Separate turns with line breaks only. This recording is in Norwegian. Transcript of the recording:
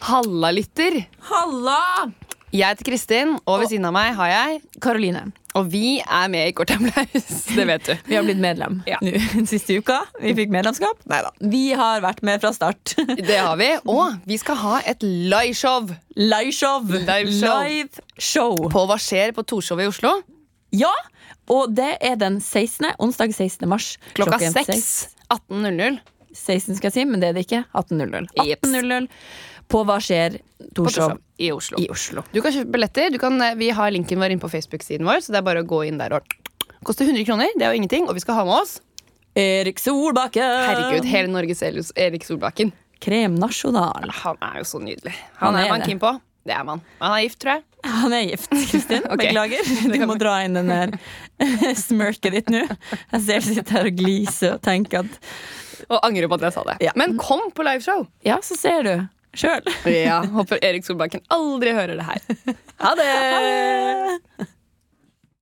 Halla, lytter.
Halla!
Jeg heter Kristin, og ved siden av meg har jeg
Karoline.
Og vi er med i Kort applaus, det vet du.
Vi har blitt medlem
Ja.
nå den siste uka. Vi fikk medlemskap. Neida. Vi har vært med fra start.
Det har vi. Og vi skal ha et liveshow
Liveshow!
Liveshow.
Live show.
på Hva skjer på Torshov i Oslo
Ja, og det er den 16. onsdag 16. mars.
klokka
Klokken seks.
6. 18.00.
16 skal jeg si, men det er det ikke. 18.00.
Jeps.
18.00 på Hva skjer
På
Torshov
Torshov i Oslo.
i Oslo.
Du kan kjøpe billetter. Du kan, eh, vi har linken vår inne på Facebook-siden vår, så det er bare å gå inn der og Koster 100 kroner, det er jo ingenting. Og vi skal ha med oss
Erik Solbakken!
Herregud, hele Norge Elius Erik Solbakken.
Krem Nasjonal.
Han er jo så nydelig. Han,
Han
er,
er
man
det.
keen på. Det er man. Han er gift, tror jeg.
Han er gift, Kristin.
Ok.
Beklager. Du må dra inn den der smirket ditt nå. Jeg ser du sitter her og gliser og tenker at
Og angrer på at jeg sa det.
Ja.
Men kom på liveshow!
Ja, så ser du sjøl.
Ja, Håper Erik Solbakken aldri hører det her. Ha det!